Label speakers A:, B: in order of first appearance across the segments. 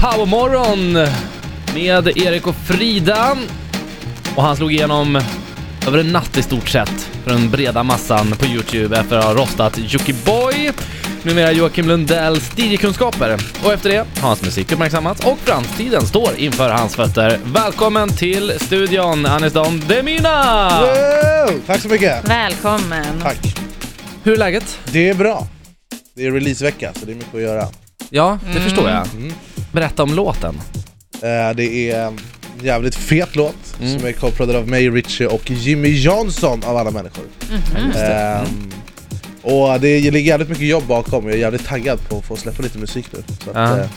A: Powermorgon med Erik och Frida. Och han slog igenom över en natt i stort sett för den breda massan på Youtube efter att ha rostat Jockiboi, numera Joakim Lundells DJ-kunskaper. Och efter det har hans musik uppmärksammats och framtiden står inför hans fötter. Välkommen till studion Anis Don Demina!
B: Wow! Tack så mycket!
C: Välkommen!
B: Tack!
A: Hur är läget?
B: Det är bra. Det är releasevecka så det är mycket att göra.
A: Ja, det förstår jag.
B: Mm.
A: Berätta om låten.
B: Eh, Det är en jävligt fet låt
A: Mm.
B: som är kopplad av mig, Richie och Jimmy Jansson av alla människor.
A: Mm-hmm.
B: Ehm, Och det ligger jävligt mycket jobb bakom jag är jävligt taggad på att få släppa lite musik nu. Så att,
A: Ja.
B: eh,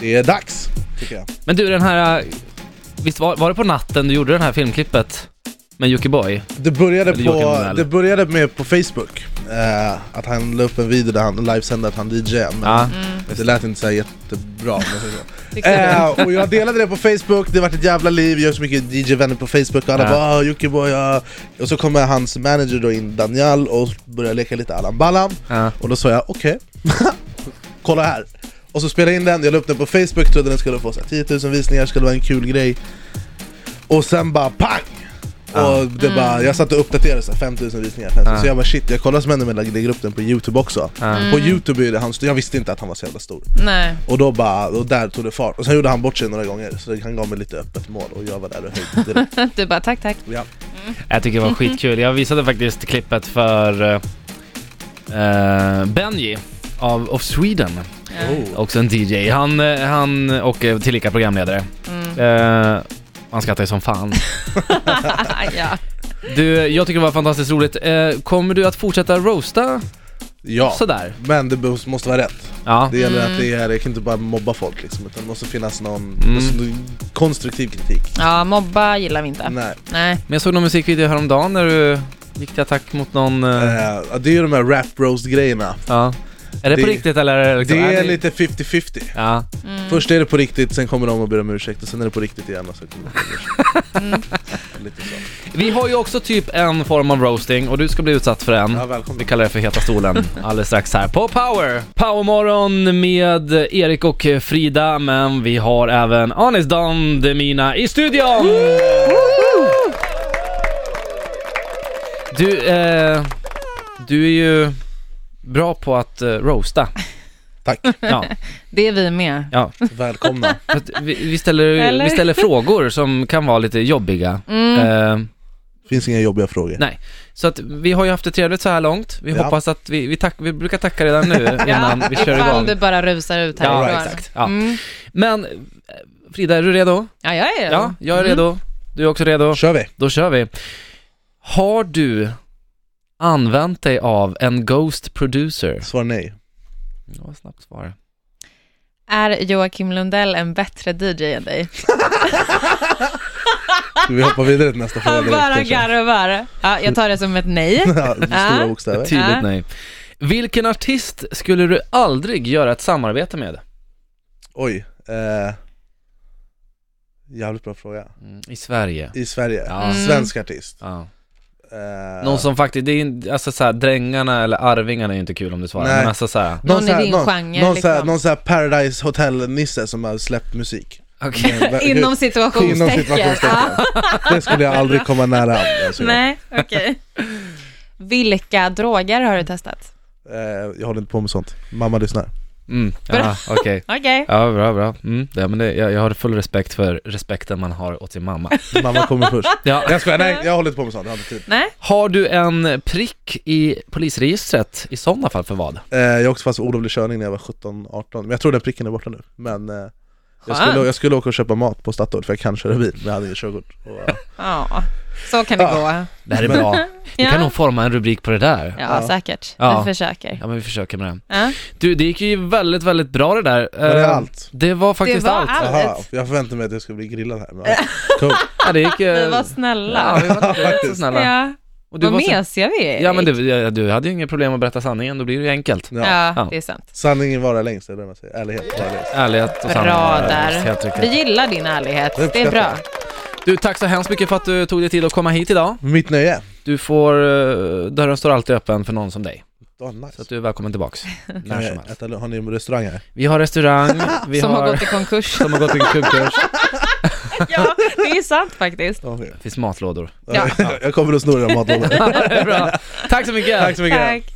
B: det är dags, tycker jag.
A: Men du, den här... eh, Visst var, var det på natten du gjorde det här filmklippet med Jockiboi?
B: Det började,
A: Eller Joakim
B: på,
A: Lundell.
B: det började med på Facebook, eh, att han la upp en video där han livesände att han DJar. men
A: Ja.
B: Det lät inte så här jättebra. Men
C: Tyckte du?
B: Eh, och jag delade det på Facebook, det vart ett jävla liv, jag har så mycket DJ-vänner på Facebook och alla
A: Ja.
B: bara "Ah, Jockiboi, ja." Och så kommer hans manager då in, Daniel, och börjar leka lite Allan Ballan
A: Ja.
B: Och då sa jag okej, kolla här Och så spelade jag in den, jag la upp den på Facebook, trodde den skulle få så här, 10 000 visningar, skulle vara en kul grej Och sen bara pang! Och det bara, jag satt och uppdaterade så här, 5 000 visningar, 5 000.
A: Ja.
B: så jag bara shit, jag kollar vad som händer med jag lägger upp den på youtube också
A: Ja.
B: På youtube är det han, jag visste inte att han var så jävla stor
C: Nej.
B: och då bara, och där tog det fart. Och sen gjorde han bort sig några gånger, så han gav mig lite öppet mål och jag var där och höjde direkt.
C: Du bara tack tack.
B: Ja.
A: Jag tycker det var skitkul. Jag visade faktiskt klippet för eh, Benji av of Sweden,
B: Oh.
A: också en DJ. Han, eh, han och eh, tillika programledare.
C: Mm.
A: Eh, han skrattar ju som fan.
C: ja.
A: Du, jag tycker det var fantastiskt roligt. Eh, kommer du att fortsätta roasta
B: ja.
A: sådär?
B: Men det behövs- måste vara rätt.
A: Ja.
B: Det gäller
C: Mm.
B: att det är, jag kan inte bara mobba folk liksom, utan det måste finnas någon
A: Mm.
B: måste, konstruktiv kritik.
C: ja, mobba gillar vi inte.
B: Nej.
C: Nej.
A: Men jag såg någon musikvideo häromdagen när du gick till attack mot någon... eh,
B: Eh, det är ju de här rap roast grejerna.
A: Ja. Är det, på
B: Det-
A: riktigt eller? är liksom-
B: Det är lite 50-50.
A: Ja.
C: Mm.
B: Först är det på riktigt, sen kommer de och ber om ursäkt och sen är det på riktigt igen och sen kommer de och ber om ursäkt.
C: Mm.
B: Lite så.
A: Vi har ju också typ en form av roasting och du ska bli utsatt för en.
B: Ja, välkommen.
A: Vi kallar det för Heta stolen alldeles strax här på Power! Powermorgon med Erik och Frida, men vi har även Anis Don Demina i studion! Du, eh, du är ju bra på att eh, roasta.
B: Tack,
A: Ja,
C: Det är vi med.
A: ja.
B: välkomna.
A: För att Vi, vi, ställer,
C: Eller?
A: vi ställer frågor som kan vara lite jobbiga.
B: Mm.
A: Eh,
B: Finns inga jobbiga frågor.
A: Nej, så att vi har ju haft det trevligt så här långt. Vi
B: Ja.
A: hoppas att vi, vi, tack, vi brukar tacka redan nu innan vi kör igång.
C: Ifall du bara rusar ut
A: Ja,
C: härifrån.
A: exakt. Ja.
C: Mm.
A: Men eh, Frida, är du redo?
C: ja, Mm. jag är
A: Ja, jag är redo. Du är också redo.
B: Kör vi!
A: Då kör vi. Har du använt dig av en Ghost Producer?
B: Svar nej.
A: Det var ett snabbt svar.
C: Är Joakim Lundell en bättre DJ än dig?
B: Ska vi hoppa vidare till nästa fråga
C: Han
B: direkt,
C: bara
B: kanske?
C: garvar. Ja, jag tar det som ett nej.
B: Ja, Stora
C: Ja.
A: Ett
B: bokstäver.
A: tydligt
C: Ja.
A: nej. Vilken artist skulle du aldrig göra ett samarbete med?
B: Oj. Eh, jävligt bra fråga.
A: Mm, I Sverige.
B: I Sverige.
A: Ja. Mm.
B: Svensk artist.
A: Ja.
B: Eh,
A: Någon som faktiskt, det är in- alltså såhär, drängarna eller arvingarna är ju inte kul om du svarar,
B: Nej.
A: men alltså såhär.
C: Någon i
B: så här-
C: din
B: någon,
C: genre,
B: Någon, så här,
C: liksom.
B: någon så här Paradise Hotel-nisse som har släppt musik.
A: Okej.
B: Men-
C: Inom
B: Inom
C: situationstecken. Ja.
B: situationstecken. Det skulle jag aldrig komma nära. Alltså,
C: Nej, okej. Vilka droger har du testat?
B: Eh, jag håller inte på med sånt. Mamma lyssnar.
A: Mm, ja, okej.
C: Okej.
A: Ja, bra, bra. Mm, ja, men det, jag, jag har full respekt för respekten man har åt sin mamma.
B: Mamma kommer först.
A: Ja.
B: Jag skojar, nej jag håller inte på med sånt. Jag har inte tid.
C: Nej?
A: Har du en prick i polisregistret? I sådana fall för vad?
B: Eh, jag åkte fast för olovlig körning när jag var 17-18. Men jag tror den pricken är borta nu. Men eh, jag,
C: Skönt.
B: skulle, jag skulle åka och köpa mat på Statoil för jag kan köra bil. Men jag hade inget körkort. Och, eh,
C: Ja, så kan det
B: Ja.
C: gå.
A: Det här är bra. Vi
C: Ja.
A: kan nog forma en rubrik på det där.
C: Ja,
B: Ja.
C: säkert.
A: Ja.
C: Jag försöker.
A: Ja, men vi försöker med den.
C: Ja.
A: Du, det gick ju väldigt, väldigt bra det där.
B: Var det
A: Eh,
B: allt?
A: Det var faktiskt
C: Det var
A: allt.
C: allt.
B: Jaha, jag förväntade mig att jag skulle bli grillad här. Men, cool.
A: Ja, det gick... eh,
C: Vi var snälla.
A: Ja, vi var inte så
B: Faktiskt.
A: snälla.
C: Ja.
A: Och
C: Vad
A: så-
C: mesiga vi är.
A: Ja, men
C: Erik.
A: du, ja, du hade ju inget problem att berätta sanningen, då blir det ju enkelt.
B: ja.
C: Ja,
A: Ja.
C: det är sant.
B: Sanningen varar längst, eller vad man säger. Ärlighet varar längst.
A: Ärlighet och sanning.
C: Bra
A: Ja,
C: där.
A: Helt
C: Vi
A: riktigt.
C: gillar din ärlighet.
B: Det
C: Det är bra.
A: Du, tack så hemskt mycket för att du tog dig tid att komma hit idag.
B: Mitt nöje.
A: Du får, eh, dörren står alltid öppen för någon som dig.
B: Fan, nice.
A: Så att du är välkommen tillbaks. När
B: Kan
A: som
B: jag
A: helst.
B: äta, har ni en restaurang här?
A: Vi har restaurang, vi
C: som har
A: har...
C: gått i konkurs.
A: Som har gått i konkurs.
C: ja, det är sant faktiskt.
B: Ja, okej.
A: Det finns matlådor.
C: Ja.
B: jag kommer att sno era matlådor.
A: Bra. Tack så mycket!
B: Tack så mycket!
C: Tack.